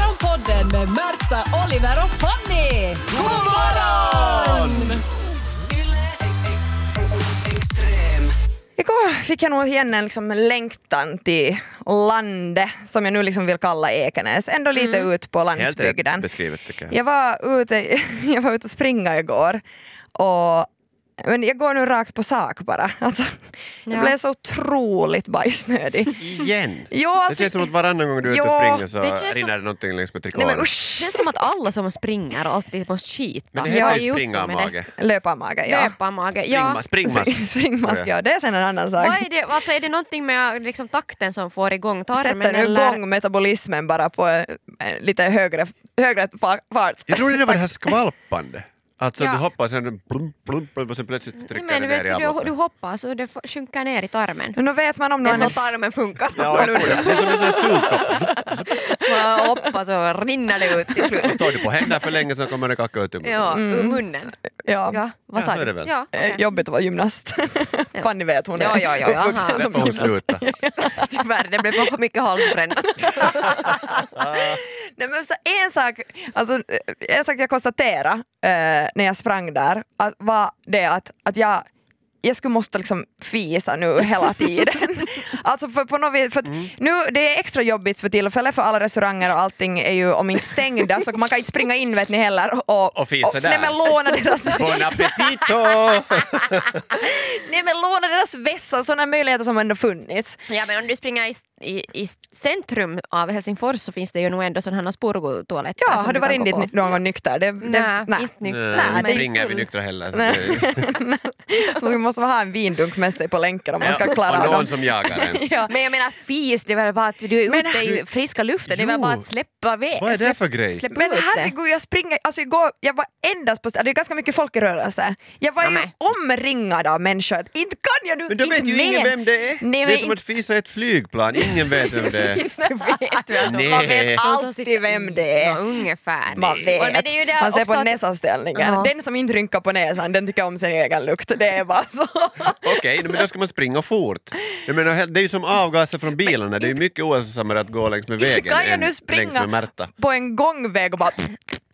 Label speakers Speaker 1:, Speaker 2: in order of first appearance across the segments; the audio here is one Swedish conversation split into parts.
Speaker 1: Morgonpodden med Märta, Oliver och Fanny! God morgon!
Speaker 2: Igår fick jag nog igen en liksom längtan till landet som jag nu liksom vill kalla Ekenäs. Ändå lite ut på
Speaker 3: Helt
Speaker 2: landsbygden.
Speaker 3: rätt beskrivet tycker jag.
Speaker 2: Jag var ute, jag var ute och springa igår och men jag går nu rakt på sak bara. Alltså, Jag
Speaker 1: Ja.
Speaker 2: blev så otroligt bajsnödig.
Speaker 3: Igen!
Speaker 2: Jo,
Speaker 3: Det
Speaker 2: alltså-
Speaker 3: känns som att varannan gång du är ute och
Speaker 2: Ja,
Speaker 3: springer så
Speaker 4: det känns som-
Speaker 3: rinner det någonting längs med
Speaker 2: Nej
Speaker 3: trikån.
Speaker 2: men usch!
Speaker 4: Det känns som att alla som springer alltid måste skita.
Speaker 3: Men det
Speaker 2: jag
Speaker 3: heter
Speaker 2: är
Speaker 3: ju springarmage.
Speaker 2: Löparmage, ja.
Speaker 4: Löparmage.
Speaker 3: Ja.
Speaker 4: Ja.
Speaker 3: Springmask.
Speaker 2: Springmask, ja. Det är sen en annan sak.
Speaker 4: Vad är det, alltså är det någonting med liksom, takten som får igång tarmen?
Speaker 2: Sätter nu
Speaker 4: eller?
Speaker 2: igång metabolismen bara på eh, lite högre, högre fa- fart.
Speaker 3: Jag trodde det var det här skvalpande. Alltså
Speaker 4: Ja.
Speaker 3: du hoppar och sen blump, blump, blump, och sen plötsligt
Speaker 4: Nej,
Speaker 3: trycker
Speaker 4: men,
Speaker 3: det
Speaker 4: du,
Speaker 3: ner i
Speaker 4: vet, du, du
Speaker 3: avloppet.
Speaker 4: hoppar så det får- sjunker ner i tarmen.
Speaker 2: Nu vet man om
Speaker 4: Det
Speaker 2: någon
Speaker 4: är så tarmen funkar.
Speaker 3: Ja, jag tror det. Det är som en sån här sugkopp.
Speaker 4: Man hoppar så rinner det ut till slut.
Speaker 3: Står du på händer för länge så kommer det kacka ut ur munnen.
Speaker 4: Ja, ur munnen.
Speaker 2: Ja.
Speaker 4: Mm. Ja, vad
Speaker 3: Ja,
Speaker 4: sa
Speaker 3: så är det
Speaker 4: du?
Speaker 3: väl.
Speaker 4: Ja,
Speaker 2: Eh,
Speaker 4: okej.
Speaker 2: Jobbigt att vara gymnast. Fanny vet, hon är
Speaker 4: Ja, ja, ja, ja,
Speaker 2: uppvuxen
Speaker 4: aha.
Speaker 3: Där
Speaker 2: som
Speaker 3: får hon
Speaker 2: gymnast.
Speaker 3: sluta.
Speaker 4: Tyvärr, det blev för mycket halsbränna.
Speaker 2: Nej, men så en, sak, alltså, eh, en sak jag konstaterade eh, när jag sprang där att, var det att, att jag, jag skulle måste liksom fisa nu hela tiden. alltså för, på något vis, för att nu, det är extra jobbigt för tillfället för alla restauranger och allting är ju om inte stängda så man kan inte springa in vet ni heller och,
Speaker 3: Och fisa där.
Speaker 2: Nej, men låna deras
Speaker 3: Bon appetito!
Speaker 2: Nej men låna deras vässar, sådana möjligheter som ändå funnits.
Speaker 4: Ja men om du springer i, i, i centrum av Helsingfors så finns det ju nog ändå sådana här spårtoaletter.
Speaker 2: Ja,
Speaker 4: som
Speaker 2: har du
Speaker 4: kan
Speaker 2: varit in
Speaker 4: gå
Speaker 2: dit
Speaker 4: på.
Speaker 2: ny- någon gång nykter? Det, det,
Speaker 4: Nej, inte nykter.
Speaker 3: Nej,
Speaker 2: det
Speaker 3: inte
Speaker 2: är
Speaker 3: springer vi nyktra heller. så det-
Speaker 2: Så man måste ha en vindunk med sig på länken om man ska klara av
Speaker 3: Och någon
Speaker 2: dem.
Speaker 3: som jagar en.
Speaker 2: Ja.
Speaker 4: Men jag menar fis, det är väl bara att du är ute i friska luften, det är väl
Speaker 3: Jo.
Speaker 4: bara att släppa iväg.
Speaker 3: Vad är det
Speaker 4: Släpp-
Speaker 3: för grej?
Speaker 4: Släpp
Speaker 2: Men
Speaker 4: ut det.
Speaker 2: herregud, jag springer, alltså igår, jag var endast på st- det är ganska mycket folk i rörelse. Jag var
Speaker 4: Ja,
Speaker 2: ju
Speaker 4: men.
Speaker 2: omringad av människor, inte kan jag nu,
Speaker 3: Men då vet
Speaker 2: inte
Speaker 3: ju ingen
Speaker 2: mer.
Speaker 3: vem det är.
Speaker 2: Nej,
Speaker 3: det är
Speaker 2: men
Speaker 3: som att
Speaker 2: inte,
Speaker 3: fisa i ett flygplan, ingen vet vem det är.
Speaker 4: Visst vet vi att de-
Speaker 3: Nej.
Speaker 2: man vet
Speaker 4: De som
Speaker 2: alltid
Speaker 4: sitter-
Speaker 2: vem det är.
Speaker 4: Ja, ungefär.
Speaker 2: Man vet,
Speaker 4: Och- Men det är ju det
Speaker 2: man ser
Speaker 4: också
Speaker 2: på
Speaker 4: att-
Speaker 2: näsanställningen.
Speaker 4: Ja.
Speaker 2: Den som inte rynkar på näsan, den tycker om sin egen lukt. Det är bara så.
Speaker 3: Okej, men då ska man springa fort. Jag menar, det är ju som avgaser från bilarna, det är ju mycket ohälsosammare att gå längs med vägen
Speaker 2: kan jag
Speaker 3: än
Speaker 2: nu
Speaker 3: längs med
Speaker 2: springa
Speaker 3: Märta.
Speaker 2: på en gångväg och bara...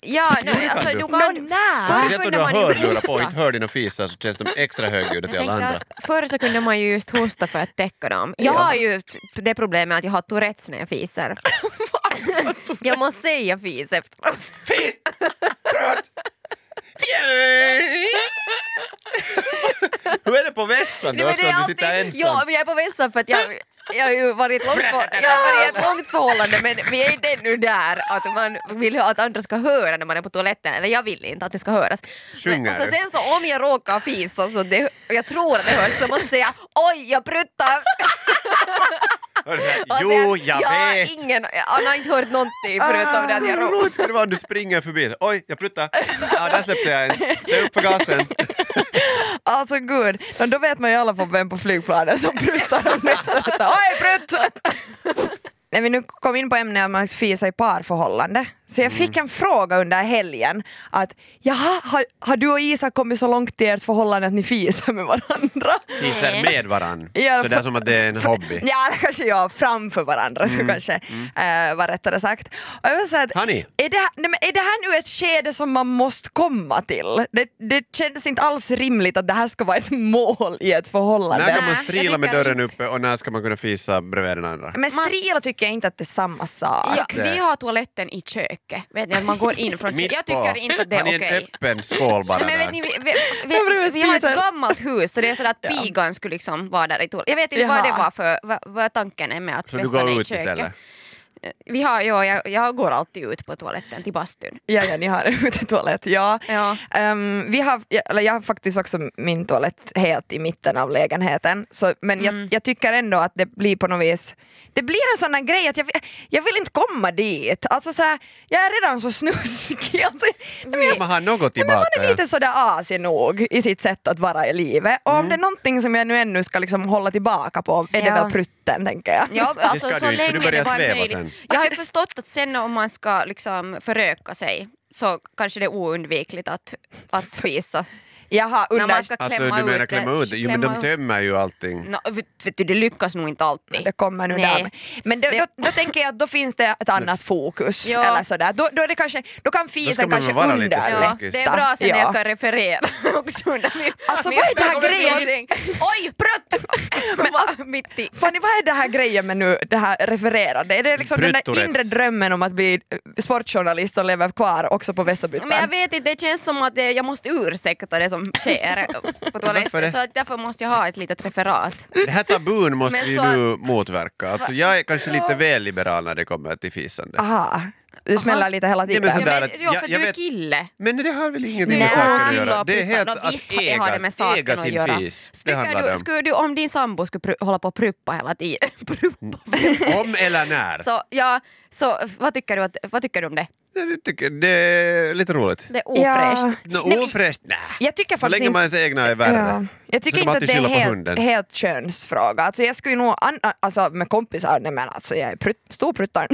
Speaker 4: Ja, nu,
Speaker 3: kan
Speaker 4: alltså,
Speaker 3: du.
Speaker 4: du
Speaker 2: Nå,
Speaker 4: kan...
Speaker 2: nä.
Speaker 4: Förr
Speaker 3: Speciellt om
Speaker 4: kunde
Speaker 3: du har
Speaker 4: man ju
Speaker 3: hörlurar på
Speaker 4: hosta.
Speaker 3: och inte hör dina fisar så känns de extra högljudda till
Speaker 4: Jag
Speaker 3: alla
Speaker 4: tänkte
Speaker 3: andra.
Speaker 4: att förr så kunde man ju just hosta för att täcka dem. Jag har ju t- det problemet att jag har Tourettes när jag fiser. jag måste säga fis efteråt.
Speaker 3: Hur är det på vässan då
Speaker 4: Nej, men
Speaker 3: också
Speaker 4: det är
Speaker 3: om du sitter
Speaker 4: alltid- Ja,
Speaker 3: ensam?
Speaker 4: men jag är på vässan för att jag, jag har ju varit långt på, jag har varit i ett långt förhållande men vi är inte ännu där att man vill ha- att andra ska höra när man är på toaletten. Eller jag vill inte att det ska höras.
Speaker 3: Sjunger
Speaker 4: alltså,
Speaker 3: du?
Speaker 4: sen så om jag råkar fisa så det, jag tror att det hörs så måste jag säga oj jag pruttar. Och
Speaker 3: Jo,
Speaker 4: sen-
Speaker 3: jag
Speaker 4: har
Speaker 3: vet! Ah.
Speaker 4: Ingen, han har inte hört någonting förutom det att jag
Speaker 3: Hur
Speaker 4: råkar.
Speaker 3: roligt skulle det vara om du springer förbi? Oj, jag pruttade. Ja, där släppte jag en. Se upp för gasen.
Speaker 2: Alltså gud, men då vet man ju i alla fall vem på flygplanet som pruttar om nätterna. Så, Oj, prutt! När vi nu kom in på ämnet om att fisa i parförhållande, så jag fick en fråga under helgen att jaha, har, har du och Isak kommit så långt i ert förhållande att ni fisar med varandra?
Speaker 3: Fiser med varann.
Speaker 2: Ja,
Speaker 3: Sådär som att det är en hobby.
Speaker 2: Ja, eller kanske jag framför varandra skulle kanske eh, vara rättare sagt. Och jag vill säga att,
Speaker 3: Har ni?
Speaker 2: Är det, här- nej, men är det här nu ett skede som man måste komma till? Det, det kändes inte alls rimligt att det här ska vara ett mål i ett förhållande.
Speaker 3: När kan man
Speaker 4: Nej, jag
Speaker 3: strila
Speaker 4: tycker
Speaker 3: med dörren
Speaker 4: inte.
Speaker 3: uppe och när ska man kunna fisa bredvid den andra?
Speaker 2: Men strila tycker jag inte att det är samma sak.
Speaker 4: Ja, vi har toaletten i köket. Vet ni, att man går in från köket. Jag tycker inte att det är
Speaker 3: Han är
Speaker 4: okej.
Speaker 3: en öppen skål bara
Speaker 4: Nej,
Speaker 3: där.
Speaker 4: men vet ni, vi, vi,
Speaker 2: Jag bredvid
Speaker 4: vi, vi har ett
Speaker 2: spisen.
Speaker 4: gammalt hus så det är sådär att pigan skulle liksom vara där i toaletten. Jag vet inte vad
Speaker 2: Jaha.
Speaker 4: det var för, vad, vad tanken är med att
Speaker 3: Så du
Speaker 4: vässan
Speaker 3: går
Speaker 4: är i
Speaker 3: ut istället?
Speaker 4: köket. Vi har, ja, jag, jag går alltid ut på toaletten till bastun.
Speaker 2: Ja, ja, ni har en utetoalett. Ja.
Speaker 4: Ja.
Speaker 2: Ehm, vi har, ja, eller jag har faktiskt också min toalett helt i mitten av lägenheten. Så, men
Speaker 4: Mm.
Speaker 2: jag, jag tycker ändå att det blir på något vis, det blir en sån där grej att jag, vi- jag vill inte komma dit. Alltså så här, jag är redan så snuskig. Alltså, nej, men jag-
Speaker 3: Mm, Man har något
Speaker 2: nej, men man
Speaker 3: tillbaka.
Speaker 2: är lite sådär asig nog i sitt sätt att vara i livet. Och om det är någonting som jag nu ännu ska liksom hålla tillbaka på är det
Speaker 4: Mm. Ja.
Speaker 2: väl prutten tänker jag.
Speaker 4: Ja, alltså,
Speaker 3: ska du
Speaker 4: så
Speaker 3: inte, för du
Speaker 4: länge
Speaker 3: börjar
Speaker 4: det bara är
Speaker 3: sväva
Speaker 4: möjligt.
Speaker 3: sen.
Speaker 4: Jag har ju förstått att sen om man ska liksom föröka sig så kanske det är oundvikligt att, att fisa
Speaker 2: Jaha,
Speaker 4: När
Speaker 2: under...
Speaker 4: man ska klämma
Speaker 3: Alltså du menar
Speaker 4: ut
Speaker 3: klämma ut det? Jo men
Speaker 4: klämma
Speaker 3: de
Speaker 4: ut- Mm.
Speaker 3: tömmer ju allting.
Speaker 4: Nå, vet- vet du, det lyckas nog inte alltid.
Speaker 2: Det kommer nu
Speaker 4: Nej.
Speaker 2: där. Men då,
Speaker 4: Det-
Speaker 2: då, då tänker jag att då finns det ett annat fokus.
Speaker 4: Ja.
Speaker 2: Eller sådär. Då, då, är det kanske, då kan
Speaker 3: ska
Speaker 2: fisen
Speaker 3: man väl
Speaker 2: kanske
Speaker 3: vara lite
Speaker 2: underlätta.
Speaker 4: Ja,
Speaker 3: Läckis.
Speaker 4: det är bra sen när jag
Speaker 2: Ja.
Speaker 4: ska referera också. Under min,
Speaker 2: Alltså,
Speaker 4: min-
Speaker 2: vad är det här
Speaker 4: jag kommer
Speaker 2: grejen?
Speaker 4: någonting. Oj, prutt! Men, alltså, mitt i.
Speaker 2: Fanny, vad är det här grejen med nu det här refererade? Är det liksom den där
Speaker 3: Bryttorets.
Speaker 2: inre drömmen om att bli eh, sportjournalist och leva kvar också på Västerbyplan?
Speaker 4: Men jag vet inte, det känns som att eh, jag måste ursäkta det som sker
Speaker 3: Varför
Speaker 4: på
Speaker 3: det?
Speaker 4: toaletten. Så att därför måste jag ha ett litet referat.
Speaker 3: Det här tabun måste
Speaker 4: Men
Speaker 3: vi
Speaker 4: så
Speaker 3: nu motverka. Alltså, jag är kanske lite väl liberal när det kommer till
Speaker 4: Ah.
Speaker 3: fisande.
Speaker 2: Aha, du smäller
Speaker 4: Aha.
Speaker 2: lite hela
Speaker 3: men
Speaker 2: tiden.
Speaker 3: sådär-
Speaker 4: Ja,
Speaker 3: att
Speaker 4: men, ja,
Speaker 3: jag-
Speaker 4: för
Speaker 3: jag
Speaker 4: du är
Speaker 3: vet-
Speaker 4: kille.
Speaker 3: Men det har väl ingenting
Speaker 4: Nej,
Speaker 3: med saken att
Speaker 4: kille
Speaker 3: göra?
Speaker 4: och
Speaker 3: Det är
Speaker 4: prutta.
Speaker 3: helt
Speaker 4: Nå,
Speaker 3: att
Speaker 4: visst har- det har det
Speaker 3: äga,
Speaker 4: med saken
Speaker 3: äga
Speaker 4: att
Speaker 3: sin
Speaker 4: göra.
Speaker 3: fis. Det handlar det
Speaker 4: Tycker
Speaker 3: om.
Speaker 4: du, skulle du, om din sambo skulle pr- hålla på och pruppa hela tiden, pruppa.
Speaker 3: Om eller när.
Speaker 4: Så, ja, så vad, tycker du, att- vad tycker du om det?
Speaker 3: Det, tycker, det är lite roligt.
Speaker 4: Det är
Speaker 2: Ja.
Speaker 4: ofräscht.
Speaker 3: Nå,
Speaker 2: Nej, men-
Speaker 3: Ofräscht? Nä.
Speaker 2: Jag tycker
Speaker 3: Så
Speaker 2: faktiskt
Speaker 3: länge
Speaker 2: inte...
Speaker 3: man ens egna är värre.
Speaker 2: Ja. Jag tycker
Speaker 3: Så ska
Speaker 2: inte
Speaker 3: man
Speaker 2: att det är
Speaker 3: alltid skylla på
Speaker 2: helt,
Speaker 3: hunden.
Speaker 2: helt könsfråga. Alltså jag skulle ju nog, an, alltså med kompisar, nej men alltså jag är prutt, stor pruttaren.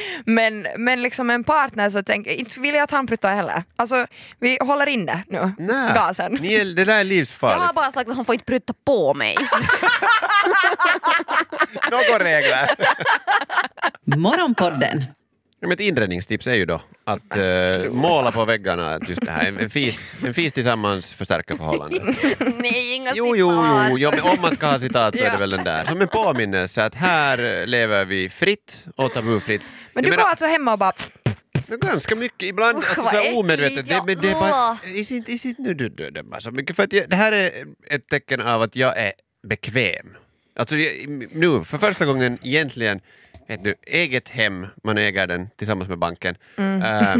Speaker 2: men, men liksom en partner så tänker jag, inte vill jag att han pruttar heller. Alltså vi håller in det nu,
Speaker 3: Nä.
Speaker 2: gasen.
Speaker 3: Ni är, det där är
Speaker 4: Jag har
Speaker 3: livsfarligt.
Speaker 4: bara sagt att hon får inte prutta på mig.
Speaker 3: Några regler.
Speaker 1: Morgonpodden.
Speaker 3: Ja, men ett inredningstips är ju då att eh, måla på väggarna att just det här. En, en, fis, en fis tillsammans förstärker förhållanden.
Speaker 4: Nej, inga
Speaker 3: Jo, jo,
Speaker 4: citat.
Speaker 3: jo, jo men om man ska ha citat så är det
Speaker 4: Ja.
Speaker 3: väl den där. Som en påminnelse att här eh, lever vi fritt och tabufritt.
Speaker 2: Men
Speaker 3: Jag
Speaker 2: du
Speaker 3: menar,
Speaker 2: går alltså hemma och bara
Speaker 3: men ganska mycket, ibland
Speaker 4: Usch,
Speaker 3: alltså,
Speaker 4: vad
Speaker 3: så här
Speaker 4: äckligt,
Speaker 3: omedvetet. Det,
Speaker 4: ja.
Speaker 3: men det är bara,
Speaker 4: Åh.
Speaker 3: is it, is it nu du dömer så mycket? För att jag, det här är ett tecken av att jag är bekväm. Alltså jag, nu, för första gången egentligen, vet du, eget hem, man äger den tillsammans med banken.
Speaker 4: Mm.
Speaker 3: Eh,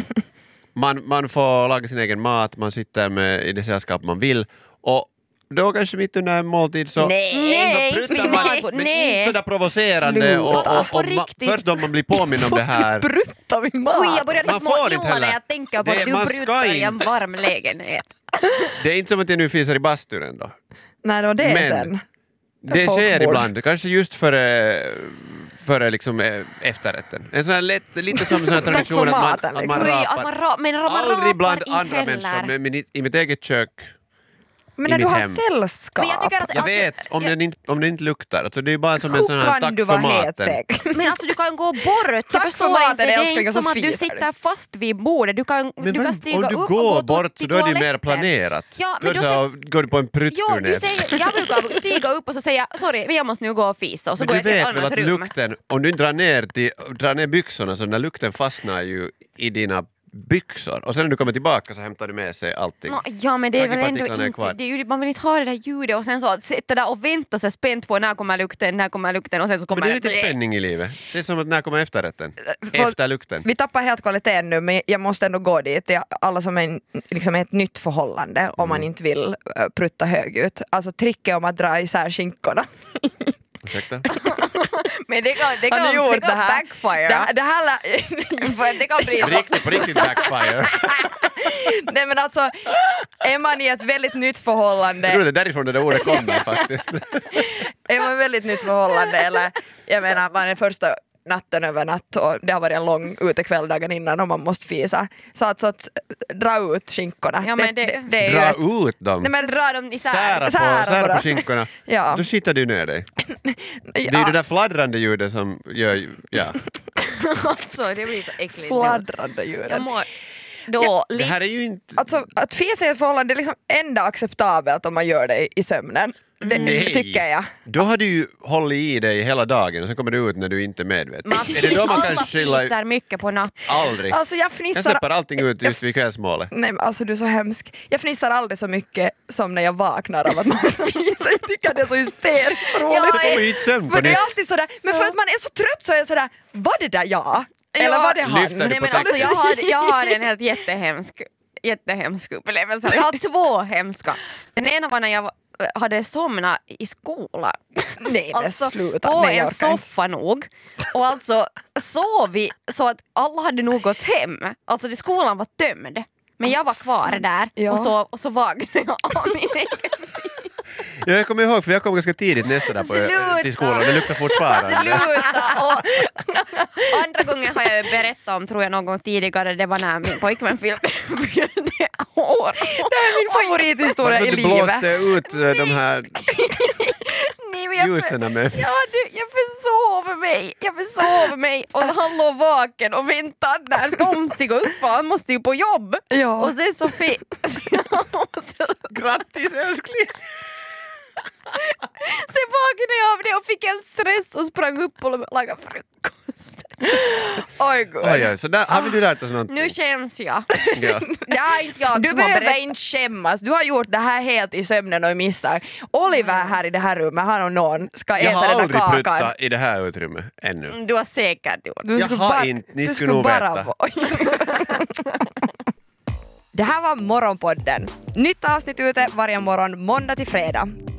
Speaker 3: man, man får laga sin egen mat, man sitter med, i det sällskap man vill. Och då kanske mitt under en måltid så
Speaker 4: Nej,
Speaker 3: så pruttar
Speaker 4: min
Speaker 3: man,
Speaker 4: mat på-
Speaker 3: men
Speaker 4: nej.
Speaker 3: inte sådär provocerande. Och, och,
Speaker 4: Sluta.
Speaker 3: och,
Speaker 4: På
Speaker 3: ma-
Speaker 4: riktigt.
Speaker 3: först om man blir påminn om det här.
Speaker 2: prutta min mat.
Speaker 4: Oj, jag börjar
Speaker 3: Ah, Man
Speaker 4: helt
Speaker 3: får
Speaker 4: må
Speaker 3: inte
Speaker 4: illa när
Speaker 3: heller.
Speaker 4: jag tänker på
Speaker 3: Det-
Speaker 4: att du
Speaker 3: man ska
Speaker 4: pruttar i en
Speaker 3: inte.
Speaker 4: varm lägenhet.
Speaker 3: Det är inte som att jag nu fisar i bastun ändå.
Speaker 2: Nej, det var det
Speaker 3: Men-
Speaker 2: sen.
Speaker 3: Det sker
Speaker 2: folkmord.
Speaker 3: ibland, kanske just före, före liksom eh, efterrätten. En sån här lätt, lite som en sån här tradition att man,
Speaker 2: maten,
Speaker 3: att
Speaker 2: liksom.
Speaker 3: man
Speaker 4: Oj, att
Speaker 3: rapar.
Speaker 4: man ra- men man rapar
Speaker 3: Aldrig bland
Speaker 4: inte
Speaker 3: andra
Speaker 4: heller.
Speaker 3: människor, men, men i- i mitt eget kök.
Speaker 2: Men när
Speaker 3: i
Speaker 2: du
Speaker 3: mitt
Speaker 2: har
Speaker 3: hem.
Speaker 2: sällskap,
Speaker 4: Men jag tycker att,
Speaker 3: Jag
Speaker 4: alltså,
Speaker 3: vet, om,
Speaker 4: jag-
Speaker 3: Den inte, om den inte luktar. Alltså, det är ju bara som en sån
Speaker 2: hur
Speaker 3: här
Speaker 2: kan
Speaker 3: tack
Speaker 2: du
Speaker 3: för
Speaker 2: vara helt
Speaker 3: maten.
Speaker 2: säker?
Speaker 4: Men alltså du kan gå bort, jag
Speaker 2: Tack för
Speaker 4: förstår
Speaker 2: maten,
Speaker 4: inte. Det är
Speaker 2: älskling,
Speaker 4: inte
Speaker 2: jag
Speaker 4: som
Speaker 2: så
Speaker 4: att du
Speaker 2: firar.
Speaker 4: sitter fast vid bordet, du kan,
Speaker 3: Men
Speaker 4: du
Speaker 3: vem-
Speaker 4: kan stiga
Speaker 3: om
Speaker 4: upp
Speaker 3: du
Speaker 4: och
Speaker 3: går
Speaker 4: gå
Speaker 3: bort så
Speaker 4: till
Speaker 3: då är det ju mer
Speaker 4: toaletten.
Speaker 3: planerat.
Speaker 4: Ja,
Speaker 3: då är
Speaker 4: men
Speaker 3: det
Speaker 4: då
Speaker 3: så här,
Speaker 4: säger-
Speaker 3: går du på en
Speaker 4: Ja, du
Speaker 3: pruttturné.
Speaker 4: säger, jag brukar stiga upp och så säga sorry, men jag måste nu gå och fisa och så
Speaker 3: Men
Speaker 4: går
Speaker 3: du
Speaker 4: jag till ett
Speaker 3: vet väl
Speaker 4: annat
Speaker 3: att
Speaker 4: rum.
Speaker 3: lukten, om du drar ner, till, drar ner byxorna så den där lukten fastnar ju i dina byxor och sen när du kommer tillbaka så hämtar du med sig allting.
Speaker 4: Nå, Ja men det är väl ändå
Speaker 3: Raggarpartiklarna är
Speaker 4: inte,
Speaker 3: kvar.
Speaker 4: det är ju, man vill inte ha det där ljudet och sen så att sitta där och vänta så spänt på när kommer lukten, när kommer lukten och sen så kommer
Speaker 3: Men det är lite spänning i livet. Det är som att när kommer efterrätten?
Speaker 2: Folk-
Speaker 3: Efterlukten.
Speaker 2: Vi tappar helt kvaliteten nu men jag måste ändå gå dit. Jag- Alla som är en- liksom ett nytt förhållande om
Speaker 3: Mm.
Speaker 2: man inte vill eh, prutta högljutt. Alltså tricket om att dra isär skinkorna.
Speaker 3: Ursäkta?
Speaker 4: Men det kan, det
Speaker 2: Har
Speaker 4: kan,
Speaker 2: ni gjort det
Speaker 4: kan
Speaker 2: här?
Speaker 4: backfire.
Speaker 2: Det, här- det här lä-
Speaker 4: För att det kan bli så.
Speaker 3: Riktigt, på riktigt backfire.
Speaker 2: Nej men alltså, är man i ett väldigt nytt
Speaker 3: Jag tror
Speaker 2: förhållande,
Speaker 3: det är därifrån det där ordet kommer faktiskt.
Speaker 2: är man i ett väldigt nytt förhållande eller jag menar man är första natten över natt och det har varit en lång utekväll dagen innan och man måste fisa. Så att, så att eh, dra ut skinkorna.
Speaker 4: Ja, men det-
Speaker 2: är ju ett-
Speaker 3: Dra ut dem.
Speaker 2: Nej, men
Speaker 4: Dra dem isär.
Speaker 3: Sära
Speaker 2: sära
Speaker 3: på, sära
Speaker 2: bara.
Speaker 3: på skinkorna.
Speaker 2: Ja.
Speaker 3: Då skiter du ner dig. Det är ju
Speaker 2: Ja.
Speaker 3: det där fladdrande ljudet som gör... ju- Ja.
Speaker 4: Alltså det blir så äckligt.
Speaker 2: fladdrande
Speaker 4: Jag
Speaker 2: djuren.
Speaker 4: mår då
Speaker 3: Det
Speaker 4: lite...
Speaker 3: här är ju inte...
Speaker 2: Alltså att fisa i ett förhållande är liksom enda acceptabelt om man gör det i sömnen. Det
Speaker 4: Mm.
Speaker 2: tycker jag.
Speaker 3: Mm. Då har du ju hållit i dig hela dagen och sen kommer du ut när du inte är medveten.
Speaker 4: Man,
Speaker 3: är det då man kan
Speaker 4: alla
Speaker 3: skylla...
Speaker 4: fisar mycket på natten.
Speaker 3: Aldrig.
Speaker 2: Alltså jag
Speaker 3: jag
Speaker 2: fnissar...
Speaker 3: släpper allting ut just vid kvällsmålet.
Speaker 2: Nej men alltså du är så hemsk. Jag fnissar aldrig så mycket som när jag vaknar av att man fnissar. Jag tycker att det är så hysteriskt roligt.
Speaker 3: Så kommer ju inte sömn på
Speaker 2: för det
Speaker 3: nytt.
Speaker 2: är alltid sådär, men för att man är så trött så är jag sådär, var det där jag? Eller
Speaker 4: Ja.
Speaker 2: var det han?
Speaker 3: Lyfter du
Speaker 4: Nej,
Speaker 3: på
Speaker 4: men alltså,
Speaker 3: taket?
Speaker 4: jag, har, jag har en helt jättehemsk, jättehemsk upplevelse. Jag har två hemska. Den ena var när jag var- hade somnat i skolan.
Speaker 2: Nej men
Speaker 4: Alltså
Speaker 2: sluta.
Speaker 4: på
Speaker 2: Nej, jag
Speaker 4: en
Speaker 2: orkar inte.
Speaker 4: soffa nog. Och alltså sov vi så att alla hade nog gått hem. Alltså det- skolan var tömd. Men jag var kvar där
Speaker 2: Ja.
Speaker 4: och, så, och så vaknade jag av min egen
Speaker 3: Jag kommer ihåg, för jag kom ganska tidigt nästa dag på,
Speaker 4: Sluta.
Speaker 3: till skolan. Det luktar fortfarande.
Speaker 4: Sluta! Och andra gången har jag ju berättat om, tror jag någon gång tidigare, det var när min pojkvän filmade hår.
Speaker 2: Det här är min favorithistoria
Speaker 3: Alltså,
Speaker 2: i
Speaker 3: du
Speaker 2: livet.
Speaker 3: blåste ut eh, de här
Speaker 4: Nej, men jag-
Speaker 3: ljusen med...
Speaker 4: Ja, du, jag försov mig. Jag försov mig och han låg vaken och väntade. När ska omstiga upp för han måste ju på jobb.
Speaker 2: Ja.
Speaker 4: Och sen så fick... och så-
Speaker 3: Grattis älskling!
Speaker 4: sen vaknade jag av det och fick helt stress och sprang upp och lagade frukost.
Speaker 2: Oj, gud.
Speaker 3: Oj, oj, så där har vi
Speaker 2: Ah.
Speaker 3: ju lärt oss någonting.
Speaker 4: Nu känns jag.
Speaker 3: Ja.
Speaker 4: Det är inte jag
Speaker 2: Du
Speaker 4: som har
Speaker 2: behöver
Speaker 4: berättat.
Speaker 2: inte skämmas, du har gjort det här helt i sömnen och i misstag. Oliver här i det här rummet, han och någon ska
Speaker 3: Jag
Speaker 2: äta
Speaker 3: har
Speaker 2: den
Speaker 3: aldrig
Speaker 2: där kakan.
Speaker 3: pruttat i det här utrymmet ännu.
Speaker 4: Du har säkert gjort.
Speaker 2: Du
Speaker 3: Jag
Speaker 2: skulle
Speaker 3: har
Speaker 2: bara-
Speaker 3: inte, ni
Speaker 2: du
Speaker 3: skulle nog
Speaker 2: bara
Speaker 3: veta.
Speaker 2: vara- Det här var Morgonpodden. Nytt avsnitt ute varje morgon måndag till fredag.